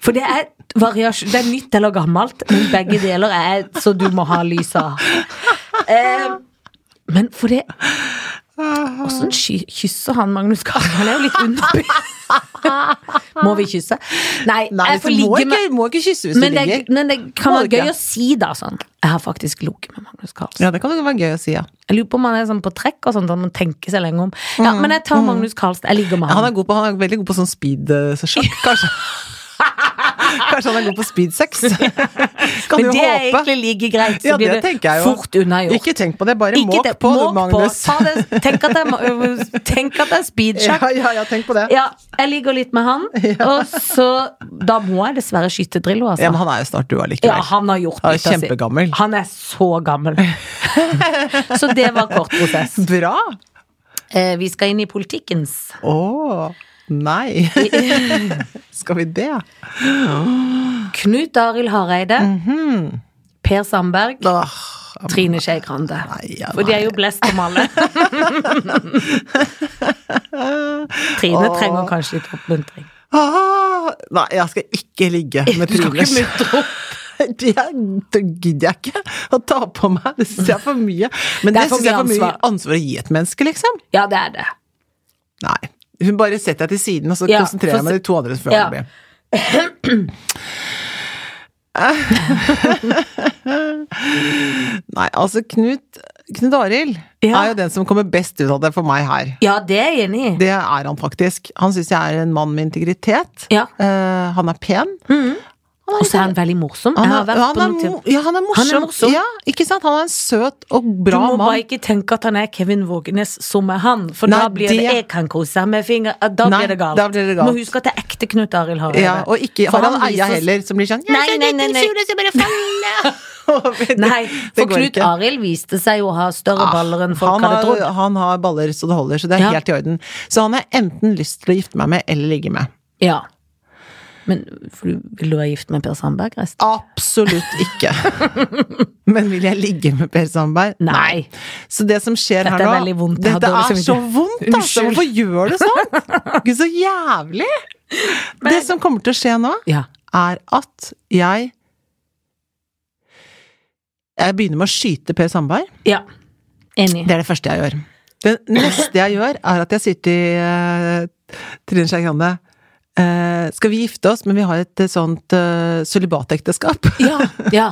[SPEAKER 2] For det er variasjon Det er nytt eller gammelt, men begge deler er så du må ha lys av. Eh, men for det Åssen sky- kysser han Magnus Carlsen? Han er jo litt underbevist. må vi kysse? Nei,
[SPEAKER 1] Nei,
[SPEAKER 2] jeg
[SPEAKER 1] du
[SPEAKER 2] får
[SPEAKER 1] må
[SPEAKER 2] ligge med
[SPEAKER 1] ikke, må ikke kysse hvis du
[SPEAKER 2] men det,
[SPEAKER 1] ligger.
[SPEAKER 2] er- men det kan
[SPEAKER 1] Må
[SPEAKER 2] være
[SPEAKER 1] du ikke?
[SPEAKER 2] gøy å si, da, sånn. Jeg har faktisk ligget med Magnus Carlsen.
[SPEAKER 1] Ja, det kan jo være gøy å si, ja.
[SPEAKER 2] Jeg lurer på om han er sånn på trekk og sånt, at man tenker seg lenge om. Ja,
[SPEAKER 1] Mm.
[SPEAKER 2] men jeg tar Magnus Carlsen. Jeg ligger med
[SPEAKER 1] Han
[SPEAKER 2] han.
[SPEAKER 1] er, god på, han er veldig god på sånn speed-sjakk, kanskje. kanskje han er god på speed-sex. kan
[SPEAKER 2] men
[SPEAKER 1] du
[SPEAKER 2] det
[SPEAKER 1] håpe?
[SPEAKER 2] er egentlig like greit, så
[SPEAKER 1] Ja,
[SPEAKER 2] blir
[SPEAKER 1] det tenker
[SPEAKER 2] det
[SPEAKER 1] jeg jo.
[SPEAKER 2] fort unnagjort.
[SPEAKER 1] Ikke tenk på det, bare måk
[SPEAKER 2] det-
[SPEAKER 1] på, du,
[SPEAKER 2] måk
[SPEAKER 1] Magnus.
[SPEAKER 2] Ta det, tenk at det er ma- ø, tenk at det er speedsjakk.
[SPEAKER 1] ja, ja, ja, tenk på det. Ja.
[SPEAKER 2] Ja, jeg ligger litt med han, og så Da må jeg dessverre skyte Drillo, altså.
[SPEAKER 1] men han er jo snart du
[SPEAKER 2] Ja,
[SPEAKER 1] allikevel.
[SPEAKER 2] han har gjort
[SPEAKER 1] Han er
[SPEAKER 2] litt av sitt.
[SPEAKER 1] kjempegammel.
[SPEAKER 2] Han er så gammel. så det var kort prosess.
[SPEAKER 1] Bra!
[SPEAKER 2] Eh, vi skal inn i politikkens.
[SPEAKER 1] Å, nei. Skal vi det?
[SPEAKER 2] Knut Arild Hareide.
[SPEAKER 1] Mhm.
[SPEAKER 2] Per Sandberg.
[SPEAKER 1] Åh,
[SPEAKER 2] Trine Skei Grande.
[SPEAKER 1] Nei, ja,
[SPEAKER 2] For de er jo blest om alle. Trine
[SPEAKER 1] Åh.
[SPEAKER 2] trenger kanskje litt oppmuntring.
[SPEAKER 1] ah, nei, jeg skal ikke ligge med
[SPEAKER 2] Du skal
[SPEAKER 1] Trine.
[SPEAKER 2] ikke muntre opp.
[SPEAKER 1] Det er- det gidder jeg ikke å ta på meg. Det syns jeg er for mye. Men
[SPEAKER 2] Det
[SPEAKER 1] det,
[SPEAKER 2] er for
[SPEAKER 1] syns jeg er for
[SPEAKER 2] mye
[SPEAKER 1] mye ansvar å gi et menneske, liksom.
[SPEAKER 2] Ja, det er det.
[SPEAKER 1] Nei. Hun bare setter deg til siden, og så
[SPEAKER 2] Ja,
[SPEAKER 1] konsentrerer
[SPEAKER 2] for-
[SPEAKER 1] jeg meg om de to andre som
[SPEAKER 2] Ja.
[SPEAKER 1] følger med. Nei, altså Knut Knut Arild
[SPEAKER 2] Ja.
[SPEAKER 1] er jo den som kommer best ut av det for meg her.
[SPEAKER 2] Ja, det er jeg enig i.
[SPEAKER 1] Det er han faktisk. Han syns jeg er en mann med integritet.
[SPEAKER 2] Ja.
[SPEAKER 1] Eh, han er pen. Han
[SPEAKER 2] Og så er han veldig morsom. Jeg
[SPEAKER 1] han
[SPEAKER 2] har
[SPEAKER 1] er,
[SPEAKER 2] vært
[SPEAKER 1] han
[SPEAKER 2] på
[SPEAKER 1] er,
[SPEAKER 2] noen
[SPEAKER 1] mo-
[SPEAKER 2] til.
[SPEAKER 1] ja, han er morsom.
[SPEAKER 2] morsom.
[SPEAKER 1] Ja, ikke sant? Han er en søt og
[SPEAKER 2] Du
[SPEAKER 1] bra
[SPEAKER 2] må
[SPEAKER 1] mann.
[SPEAKER 2] bare ikke tenke at han er Kevin Vågenes som er han, for
[SPEAKER 1] Nei,
[SPEAKER 2] da blir det
[SPEAKER 1] det-
[SPEAKER 2] 'jeg kan kose med finger', da
[SPEAKER 1] Nei,
[SPEAKER 2] blir det galt.
[SPEAKER 1] da blir det galt.
[SPEAKER 2] Må huske at det er ekte Knut Arild Hareide.
[SPEAKER 1] Ja, og ikke
[SPEAKER 2] For
[SPEAKER 1] Harald
[SPEAKER 2] han
[SPEAKER 1] Eia
[SPEAKER 2] viser-
[SPEAKER 1] heller, som blir sånn
[SPEAKER 2] Nei, nei, nei, nei. Nei, for Knut Arild viste seg jo å ha større baller enn folk
[SPEAKER 1] Ah, han
[SPEAKER 2] hadde
[SPEAKER 1] har,
[SPEAKER 2] trodd.
[SPEAKER 1] han har baller så det holder, så det er
[SPEAKER 2] Ja.
[SPEAKER 1] helt i orden. Så han har enten lyst til å gifte meg med eller ligge med.
[SPEAKER 2] Ja. Men for du, vil du være gift med Per Sandberg resten?
[SPEAKER 1] Absolutt ikke. Men vil jeg ligge med Per Sandberg?
[SPEAKER 2] Nei.
[SPEAKER 1] Så det som skjer
[SPEAKER 2] Dette
[SPEAKER 1] her nå
[SPEAKER 2] er veldig vondt. Jeg har
[SPEAKER 1] Dette
[SPEAKER 2] dårlig
[SPEAKER 1] er så
[SPEAKER 2] samvittighet.
[SPEAKER 1] vondt, altså!
[SPEAKER 2] Unnskyld.
[SPEAKER 1] Hvorfor gjør du sånn? Gud, så jævlig! Det som kommer til å skje nå,
[SPEAKER 2] Ja.
[SPEAKER 1] er at jeg Jeg begynner med å skyte Per Sandberg.
[SPEAKER 2] ja. Enig.
[SPEAKER 1] Det er det første jeg gjør. Det neste jeg gjør, er at jeg sier til eh, Trine Skei Grande eh, Skal vi gifte oss, men vi har et eh, sånt uh, sølibatekteskap?
[SPEAKER 2] Ja. ja.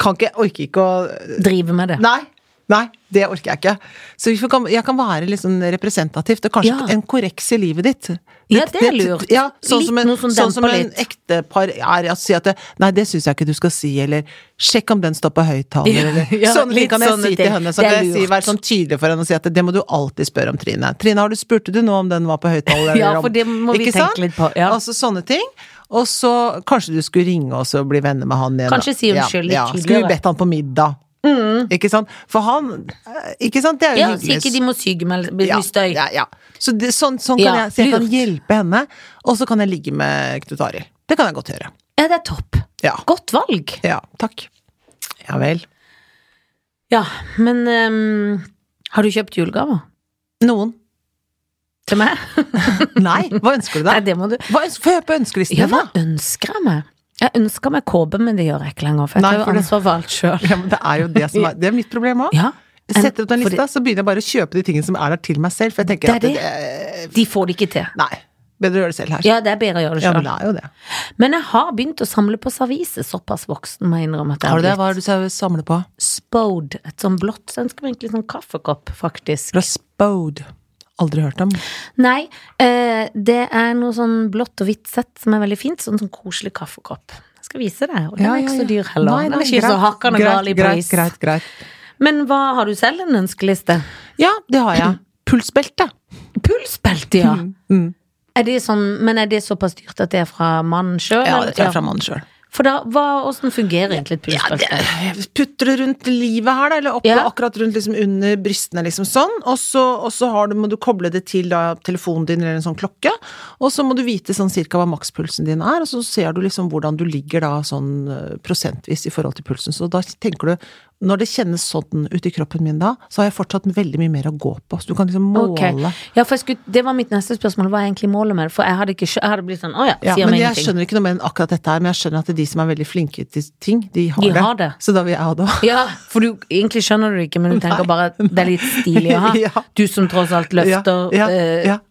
[SPEAKER 1] Kan ikke, orker ikke å
[SPEAKER 2] Drive med det.
[SPEAKER 1] Nei. Nei, det orker jeg ikke. Så vi får kan, jeg kan være litt sånn representativt, og kanskje
[SPEAKER 2] Ja.
[SPEAKER 1] en korreks i livet ditt.
[SPEAKER 2] Ja, det er lurt.
[SPEAKER 1] Ja, sånn
[SPEAKER 2] Litt
[SPEAKER 1] som en,
[SPEAKER 2] noe som
[SPEAKER 1] sånn som
[SPEAKER 2] demper
[SPEAKER 1] en
[SPEAKER 2] litt.
[SPEAKER 1] ektepar er, at si at det, Nei, det syns jeg ikke du skal si, eller Sjekk om den står på høyttaler,
[SPEAKER 2] Ja,
[SPEAKER 1] eller
[SPEAKER 2] ja,
[SPEAKER 1] Sånne ting
[SPEAKER 2] litt
[SPEAKER 1] kan jeg
[SPEAKER 2] sånne
[SPEAKER 1] si
[SPEAKER 2] ting.
[SPEAKER 1] til henne. Så
[SPEAKER 2] Det er
[SPEAKER 1] kan jeg si,
[SPEAKER 2] lurt.
[SPEAKER 1] være sånn tydelig for henne og si at det må du alltid spørre om, Trine. Trine, har du spurte du nå om den var på høyttaler?
[SPEAKER 2] Ja,
[SPEAKER 1] eller om-
[SPEAKER 2] for det må vi
[SPEAKER 1] Ikke
[SPEAKER 2] tenke
[SPEAKER 1] sant?
[SPEAKER 2] litt på, ja.
[SPEAKER 1] Altså sånne ting. Og så kanskje du skulle ringe oss og bli venner med han igjen. da.
[SPEAKER 2] Kanskje si unnskyld litt
[SPEAKER 1] ja, ja. Skulle
[SPEAKER 2] tydeligere.
[SPEAKER 1] bedt han på middag. Ikke sant? For han eh, Ikke sant? Det er jo
[SPEAKER 2] Mm. Ja, så ikke de må sygemelde bli
[SPEAKER 1] Ja,
[SPEAKER 2] mye støy.
[SPEAKER 1] Ja, ja. Så det, sånn, sånn kan
[SPEAKER 2] Ja,
[SPEAKER 1] jeg, så jeg kan
[SPEAKER 2] lurt.
[SPEAKER 1] hjelpe henne, og så kan jeg ligge med Knut Arild. Det kan jeg godt gjøre.
[SPEAKER 2] Ja, det er topp.
[SPEAKER 1] Ja.
[SPEAKER 2] Godt valg.
[SPEAKER 1] ja. Takk. Ja vel.
[SPEAKER 2] Ja, men ehm, har du kjøpt julegaver
[SPEAKER 1] Noen.
[SPEAKER 2] til meg?
[SPEAKER 1] Nei, hva ønsker du
[SPEAKER 2] Nei,
[SPEAKER 1] deg?
[SPEAKER 2] det må du.
[SPEAKER 1] Hva ønsker, få høre på ønskelisten
[SPEAKER 2] Ja,
[SPEAKER 1] din,
[SPEAKER 2] hva
[SPEAKER 1] da.
[SPEAKER 2] ønsker jeg meg? Jeg ønsker meg kåpe, men det gjør jeg ikke lenger, for jeg
[SPEAKER 1] Nei,
[SPEAKER 2] tar jo
[SPEAKER 1] for det-
[SPEAKER 2] ansvar for alt sjøl.
[SPEAKER 1] Ja, men det er jo det som er Det er mitt problem òg.
[SPEAKER 2] Ja, en-
[SPEAKER 1] Setter opp den
[SPEAKER 2] fordi-
[SPEAKER 1] lista, så begynner jeg bare å kjøpe de tingene som er der til meg selv, for jeg tenker
[SPEAKER 2] Det er
[SPEAKER 1] at det, eh,
[SPEAKER 2] de får det ikke til.
[SPEAKER 1] Nei. Bedre å gjøre det selv her.
[SPEAKER 2] Ja, det er bedre å gjøre det
[SPEAKER 1] Ja,
[SPEAKER 2] sjøl.
[SPEAKER 1] men det er jo det.
[SPEAKER 2] Men jeg har begynt å samle på servise, såpass voksen må jeg innrømme at jeg
[SPEAKER 1] Har du det?
[SPEAKER 2] blitt.
[SPEAKER 1] Hva er det du samler på?
[SPEAKER 2] Spode, et sånn blått, så ønsker meg egentlig sånn kaffekopp, faktisk.
[SPEAKER 1] Fra Spode. Aldri hørt om.
[SPEAKER 2] Nei, eh, det er noe sånn blått og hvitt sett som er veldig fint, sånn sånn koselig kaffekopp. Jeg skal vise deg, og den
[SPEAKER 1] Ja,
[SPEAKER 2] er
[SPEAKER 1] ja, ja.
[SPEAKER 2] ikke så dyr heller.
[SPEAKER 1] Nei,
[SPEAKER 2] den
[SPEAKER 1] nei,
[SPEAKER 2] er ikke så
[SPEAKER 1] greit,
[SPEAKER 2] hakkende
[SPEAKER 1] greit,
[SPEAKER 2] gal i
[SPEAKER 1] greit,
[SPEAKER 2] pris.
[SPEAKER 1] Greit, greit,
[SPEAKER 2] Men hva har du selv en ønskeliste?
[SPEAKER 1] Ja, det har jeg. Pulsbelte.
[SPEAKER 2] Pulsbelte, ja.
[SPEAKER 1] Mm.
[SPEAKER 2] Er det sånn, men er det såpass dyrt at det er fra mannen sjøl?
[SPEAKER 1] Ja, det tar jeg fra mannen sjøl.
[SPEAKER 2] For da, hva, hvordan fungerer egentlig et pulsbelte?
[SPEAKER 1] Putter det rundt livet her, da, eller oppe,
[SPEAKER 2] Ja.
[SPEAKER 1] akkurat rundt liksom under brystene, liksom sånn. Og så, og så har du, må du koble det til da, telefonen din eller en sånn klokke. Og så må du vite sånn cirka hva makspulsen din er, og så ser du liksom hvordan du ligger da sånn eh, prosentvis i forhold til pulsen. Så da tenker du Når det kjennes sånn ut i kroppen min da, så har jeg fortsatt veldig mye mer å gå på. Så du kan liksom måle.
[SPEAKER 2] Ok. Ja, for jeg skulle, det var mitt neste spørsmål. Hva er egentlig målet med det? For jeg hadde, ikke, skjø- jeg hadde blitt sånn, å ja,
[SPEAKER 1] Ja,
[SPEAKER 2] sier
[SPEAKER 1] men
[SPEAKER 2] meg
[SPEAKER 1] jeg
[SPEAKER 2] ingenting.
[SPEAKER 1] skjønner ikke noe mer enn akkurat dette her, men jeg skjønner at de som er veldig flinke til ting, de har,
[SPEAKER 2] De
[SPEAKER 1] det.
[SPEAKER 2] har det.
[SPEAKER 1] Så da vil jeg ha det òg.
[SPEAKER 2] Ja, for du, egentlig skjønner du det ikke, men du tenker bare at det er litt stilig å ha.
[SPEAKER 1] Ja.
[SPEAKER 2] Du som tross alt løfter
[SPEAKER 1] Ja, ja,
[SPEAKER 2] eh,
[SPEAKER 1] ja.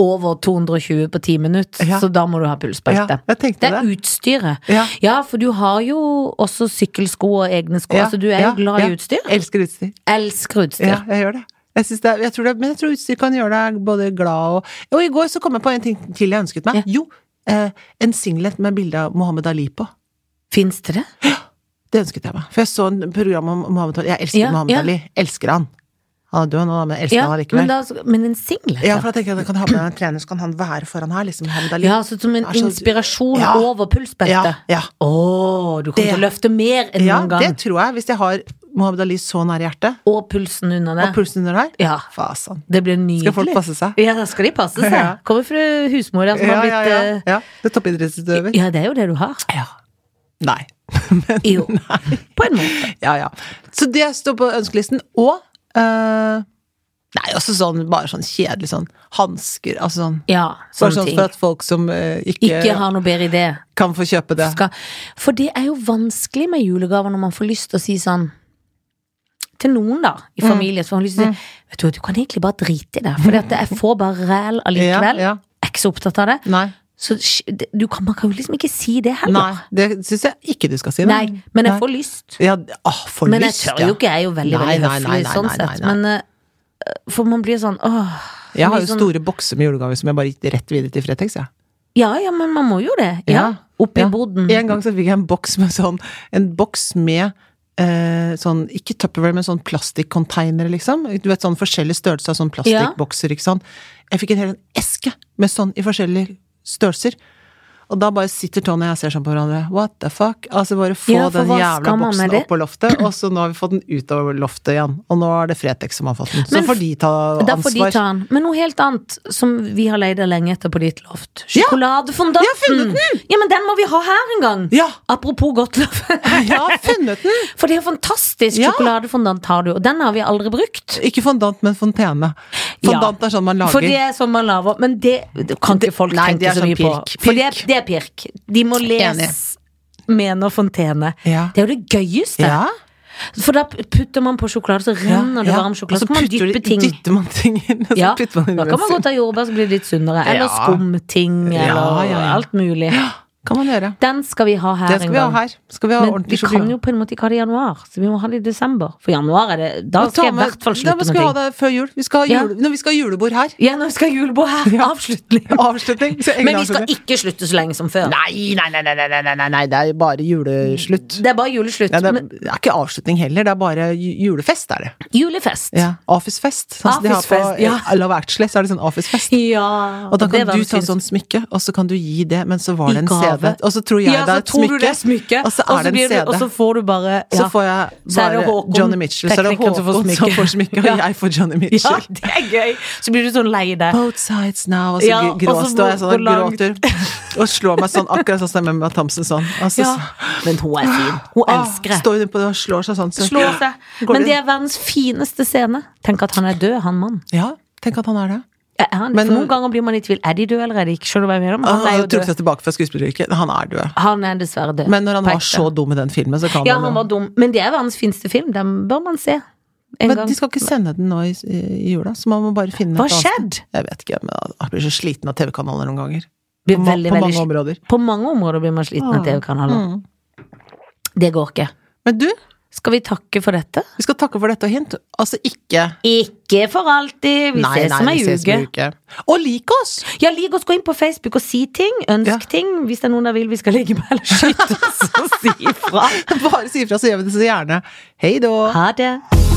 [SPEAKER 2] over 220 på 10 minutter,
[SPEAKER 1] Ja.
[SPEAKER 2] så da må du ha pulsbelte.
[SPEAKER 1] Ja, jeg tenkte
[SPEAKER 2] det er
[SPEAKER 1] det.
[SPEAKER 2] utstyret.
[SPEAKER 1] Ja.
[SPEAKER 2] for du har jo også sykkelsko og egne sko, så Altså, du er jo glad i utstyr.
[SPEAKER 1] Elsker utstyr.
[SPEAKER 2] Elsker utstyr.
[SPEAKER 1] Ja, jeg gjør det. Jeg synes det, er- jeg tror det. Men jeg tror utstyr kan gjøre deg både glad og Og i går så kom jeg på en ting til jeg ønsket meg.
[SPEAKER 2] Ja.
[SPEAKER 1] Jo, eh, en singlet med bilde av Mohammed Ali på.
[SPEAKER 2] Fins det det?
[SPEAKER 1] Det ønsket jeg meg. For jeg så en program om Mohammed Ali. Jeg elsker
[SPEAKER 2] Ja,
[SPEAKER 1] Mohammed
[SPEAKER 2] ja.
[SPEAKER 1] Ali. Elsker han. Han er død nå, da, men jeg elsker
[SPEAKER 2] Ja,
[SPEAKER 1] han allikevel.
[SPEAKER 2] men, da, men en singlet?
[SPEAKER 1] Ja,
[SPEAKER 2] ja.
[SPEAKER 1] for da tenker jeg at jeg kan ha med meg en trener, så kan han være foran her, liksom. Mohammed Ali.
[SPEAKER 2] Ja, så som en
[SPEAKER 1] Er så-
[SPEAKER 2] inspirasjon
[SPEAKER 1] Ja.
[SPEAKER 2] over pulsbeltet.
[SPEAKER 1] ja, ja.
[SPEAKER 2] Å, du kommer
[SPEAKER 1] Det-
[SPEAKER 2] til å løfte mer enn
[SPEAKER 1] Ja,
[SPEAKER 2] noen gang.
[SPEAKER 1] det tror jeg. Hvis jeg har Mohammed Ali så nær hjertet,
[SPEAKER 2] Og pulsen under det.
[SPEAKER 1] og pulsen under der,
[SPEAKER 2] ja,
[SPEAKER 1] fasan.
[SPEAKER 2] det blir nydelig.
[SPEAKER 1] Skal folk passe seg?
[SPEAKER 2] Ja, da skal de passe seg.
[SPEAKER 1] Ja.
[SPEAKER 2] Kommer fra husmor der som
[SPEAKER 1] Ja,
[SPEAKER 2] har
[SPEAKER 1] ja,
[SPEAKER 2] blitt
[SPEAKER 1] ja.
[SPEAKER 2] eh,
[SPEAKER 1] ja. Det er toppidrettsutøver.
[SPEAKER 2] ja, det er jo det du har.
[SPEAKER 1] Ja. Nei.
[SPEAKER 2] Jo. På en måte.
[SPEAKER 1] Ja, ja. Så det står på ønskelisten. Og eh, Nei, også sånn bare sånn kjedelig sånn hansker, altså sånn
[SPEAKER 2] Ja,
[SPEAKER 1] Bare
[SPEAKER 2] sånne
[SPEAKER 1] sånn
[SPEAKER 2] ting.
[SPEAKER 1] for at folk som eh, ikke,
[SPEAKER 2] Ikke har noe bedre idé.
[SPEAKER 1] kan få kjøpe det.
[SPEAKER 2] Skal. For det er jo vanskelig med julegaver når man får lyst til å si sånn til noen, da, i
[SPEAKER 1] Mm.
[SPEAKER 2] familien, som har lyst til å si Vet du, hva, du kan egentlig bare drite i det, for jeg får bare ræl allikevel.
[SPEAKER 1] Ja, ja.
[SPEAKER 2] Jeg er ikke så opptatt av det.
[SPEAKER 1] Nei.
[SPEAKER 2] Så sh- det- du kan, man kan jo liksom ikke si det
[SPEAKER 1] Nei.
[SPEAKER 2] heller.
[SPEAKER 1] Det syns jeg ikke du skal si. da.
[SPEAKER 2] Nei, men jeg
[SPEAKER 1] Nei.
[SPEAKER 2] får lyst.
[SPEAKER 1] ja, åh, for
[SPEAKER 2] Men jeg
[SPEAKER 1] lyst,
[SPEAKER 2] tør jo ikke, jeg er jo veldig,
[SPEAKER 1] Nei,
[SPEAKER 2] veldig
[SPEAKER 1] nei, nei, nei,
[SPEAKER 2] høflig sånn
[SPEAKER 1] nei,
[SPEAKER 2] sett.
[SPEAKER 1] nei, nei.
[SPEAKER 2] Men eh, For man blir sånn åh.
[SPEAKER 1] Jeg har jo
[SPEAKER 2] liksom-
[SPEAKER 1] store bokser med julegaver som jeg bare gikk rett videre til Fretex, jeg.
[SPEAKER 2] Ja, ja, men man må jo det.
[SPEAKER 1] Ja.
[SPEAKER 2] Ja. Opp i
[SPEAKER 1] Ja.
[SPEAKER 2] boden.
[SPEAKER 1] En gang så fikk jeg en boks med sånn En boks med eh, sånn Ikke Tupperware, men sånn plastikkonteiner, liksom. Du vet sånn forskjellige størrelser av sånn plastikkbokser, ikke sant. Jeg fikk en hel eske med sånn i forskjellige størrelser. Og da bare sitter Tony og jeg og ser sånn på hverandre. What the fuck? Altså bare få
[SPEAKER 2] Ja, for
[SPEAKER 1] den
[SPEAKER 2] hva
[SPEAKER 1] jævla
[SPEAKER 2] skal man
[SPEAKER 1] boksen
[SPEAKER 2] med det?
[SPEAKER 1] opp på loftet, og så nå har vi fått den ut av loftet igjen. Og nå er det Fretex som har fått den. Så
[SPEAKER 2] Men
[SPEAKER 1] får de ta
[SPEAKER 2] Da får de
[SPEAKER 1] ansvar.
[SPEAKER 2] ta den. Men noe helt annet som vi har leid lenge etter på ditt loft.
[SPEAKER 1] Ja.
[SPEAKER 2] Sjokoladefondanten!
[SPEAKER 1] Jeg har funnet
[SPEAKER 2] Ja, men den må vi ha her en gang!
[SPEAKER 1] Ja!
[SPEAKER 2] Apropos Gottlof.
[SPEAKER 1] Jeg har funnet den!
[SPEAKER 2] For det er fantastisk
[SPEAKER 1] Ja.
[SPEAKER 2] sjokoladefondant har du, og den har vi aldri brukt.
[SPEAKER 1] Ikke fondant, men fontene.
[SPEAKER 2] Ja.
[SPEAKER 1] Fondant er sånn man lager.
[SPEAKER 2] For det er sånn man lager. Men det, det kan
[SPEAKER 1] Det-
[SPEAKER 2] ikke folk
[SPEAKER 1] nei, det
[SPEAKER 2] tenke
[SPEAKER 1] er
[SPEAKER 2] så
[SPEAKER 1] sånn
[SPEAKER 2] mye
[SPEAKER 1] pirk.
[SPEAKER 2] på. For det,
[SPEAKER 1] Pirk.
[SPEAKER 2] det er pirk. De må lese mener Fontene.
[SPEAKER 1] Ja.
[SPEAKER 2] Det er jo det gøyeste.
[SPEAKER 1] ja.
[SPEAKER 2] For da putter man på sjokolade, så
[SPEAKER 1] ja,
[SPEAKER 2] renner det
[SPEAKER 1] ja.
[SPEAKER 2] varm
[SPEAKER 1] Og
[SPEAKER 2] sjokolade.
[SPEAKER 1] så
[SPEAKER 2] Så kan man
[SPEAKER 1] putter du-
[SPEAKER 2] dyppe ting.
[SPEAKER 1] dytter man ting inn. og Så
[SPEAKER 2] Ja,
[SPEAKER 1] putter man inn
[SPEAKER 2] Da kan man
[SPEAKER 1] bensin.
[SPEAKER 2] godt ta jordbær, så blir det litt sunnere. Eller
[SPEAKER 1] Ja.
[SPEAKER 2] skumting,
[SPEAKER 1] Ja,
[SPEAKER 2] eller
[SPEAKER 1] ja, ja.
[SPEAKER 2] alt mulig.
[SPEAKER 1] kan man gjøre.
[SPEAKER 2] Den skal vi ha her
[SPEAKER 1] Det skal
[SPEAKER 2] en
[SPEAKER 1] vi ha
[SPEAKER 2] gang.
[SPEAKER 1] her. Skal vi ha
[SPEAKER 2] Men vi
[SPEAKER 1] ordentlig
[SPEAKER 2] kan jo på en måte ikke ha det i januar, så vi må ha det i desember. For januar er det Da
[SPEAKER 1] Ta
[SPEAKER 2] skal jeg i
[SPEAKER 1] med-
[SPEAKER 2] hvert fall
[SPEAKER 1] Ja, men
[SPEAKER 2] slutte med
[SPEAKER 1] skal vi ha
[SPEAKER 2] ting.
[SPEAKER 1] det før jul. Vi skal ha,
[SPEAKER 2] Ja.
[SPEAKER 1] jule, Nei, vi skal ha julebord her.
[SPEAKER 2] Ja, nå skal julebord her. Avslutning.
[SPEAKER 1] Avslutning. Så egen
[SPEAKER 2] Men vi skal
[SPEAKER 1] avslutning.
[SPEAKER 2] ikke slutte så lenge som før.
[SPEAKER 1] Nei, nei, nei, nei, nei, nei, nei, nei, det er bare juleslutt.
[SPEAKER 2] Det er bare juleslutt.
[SPEAKER 1] Ja, det,
[SPEAKER 2] men
[SPEAKER 1] er, det er ikke avslutning heller, det er bare ju- julefest, er det.
[SPEAKER 2] julefest.
[SPEAKER 1] Afisfest. Sånn som de har på
[SPEAKER 2] Afisfest, ja.
[SPEAKER 1] La Vertsle, så er det sånn afisfest.
[SPEAKER 2] Ja,
[SPEAKER 1] Og da
[SPEAKER 2] det
[SPEAKER 1] kan
[SPEAKER 2] var
[SPEAKER 1] du
[SPEAKER 2] jo
[SPEAKER 1] ta
[SPEAKER 2] fint.
[SPEAKER 1] sånn smykke, og så kan du gi det, men så var
[SPEAKER 2] I
[SPEAKER 1] det en
[SPEAKER 2] gave.
[SPEAKER 1] CD. Og så tror jeg
[SPEAKER 2] ja,
[SPEAKER 1] det
[SPEAKER 2] så
[SPEAKER 1] er et
[SPEAKER 2] tror du
[SPEAKER 1] smykke,
[SPEAKER 2] det er smykke,
[SPEAKER 1] og så er det en
[SPEAKER 2] blir
[SPEAKER 1] CD.
[SPEAKER 2] du- Og så får du bare ja.
[SPEAKER 1] Så får jeg
[SPEAKER 2] Så er
[SPEAKER 1] bare
[SPEAKER 2] det Håkon,
[SPEAKER 1] Johnny Mitchell. Så er det
[SPEAKER 2] teknikeren, som får
[SPEAKER 1] Håkon som
[SPEAKER 2] smykke.
[SPEAKER 1] får smykke, og
[SPEAKER 2] Ja.
[SPEAKER 1] jeg får Johnny
[SPEAKER 2] ja,
[SPEAKER 1] Mitchell.
[SPEAKER 2] det er gøy. Så blir du sånn lei deg.
[SPEAKER 1] Both sides now, og så
[SPEAKER 2] Ja,
[SPEAKER 1] gr-
[SPEAKER 2] og så
[SPEAKER 1] gråstår jeg
[SPEAKER 2] hvor-
[SPEAKER 1] sånn og
[SPEAKER 2] hvor langt?
[SPEAKER 1] gråter. Og slår meg sånn, akkurat sånn som Emma Thompson sånn. Og så,
[SPEAKER 2] Ja. Men hun er fin. Hun elsker
[SPEAKER 1] ah,
[SPEAKER 2] det.
[SPEAKER 1] står hun på det og slår seg sånn. Så,
[SPEAKER 2] Slår seg.
[SPEAKER 1] Går
[SPEAKER 2] Men
[SPEAKER 1] det-
[SPEAKER 2] det er verdens fineste scene. Tenk at han er død, han mannen.
[SPEAKER 1] Ja, tenk at han er det.
[SPEAKER 2] Ja, er han-
[SPEAKER 1] Men-
[SPEAKER 2] for Noen ganger blir man i tvil. Er de døde eller er de ikke? Skjønner du hva jeg mener? Men
[SPEAKER 1] Han
[SPEAKER 2] han er jo
[SPEAKER 1] trukket
[SPEAKER 2] død.
[SPEAKER 1] Ah, seg tilbake fra skuespilleryrket. Han er død.
[SPEAKER 2] Han er dessverre død.
[SPEAKER 1] Men når han
[SPEAKER 2] På
[SPEAKER 1] var
[SPEAKER 2] ekte.
[SPEAKER 1] så dum i den filmen, så kan
[SPEAKER 2] Ja,
[SPEAKER 1] man
[SPEAKER 2] han
[SPEAKER 1] jo-
[SPEAKER 2] var dum. Men det er verdens fineste film. Den bør man se. En
[SPEAKER 1] Men
[SPEAKER 2] gang.
[SPEAKER 1] de skal ikke sende den nå i, i jula, så man må bare finne
[SPEAKER 2] Hva
[SPEAKER 1] et annet sted.
[SPEAKER 2] skjedde?
[SPEAKER 1] Jeg vet ikke, men jeg blir så sliten av TV-kanaler noen ganger.
[SPEAKER 2] Blir
[SPEAKER 1] På, ma-
[SPEAKER 2] veldig,
[SPEAKER 1] på
[SPEAKER 2] veldig
[SPEAKER 1] mange
[SPEAKER 2] sli-
[SPEAKER 1] områder.
[SPEAKER 2] På mange områder blir man sliten av
[SPEAKER 1] Ah.
[SPEAKER 2] TV-kanaler.
[SPEAKER 1] Mm.
[SPEAKER 2] Det går ikke.
[SPEAKER 1] Men du,
[SPEAKER 2] Skal vi takke for dette?
[SPEAKER 1] vi skal takke for dette og hint. Altså ikke
[SPEAKER 2] Ikke for alltid! Vi ses om ei
[SPEAKER 1] om
[SPEAKER 2] uke.
[SPEAKER 1] ei uke. Og lik oss!
[SPEAKER 2] Ja, lik oss, gå inn på Facebook og si ting. Ønsk
[SPEAKER 1] Ja.
[SPEAKER 2] ting hvis det er noen der vil vi skal ligge med eller skyte oss og si ifra.
[SPEAKER 1] Bare si ifra, så gjør vi det så gjerne. Hei da!
[SPEAKER 2] Ha det.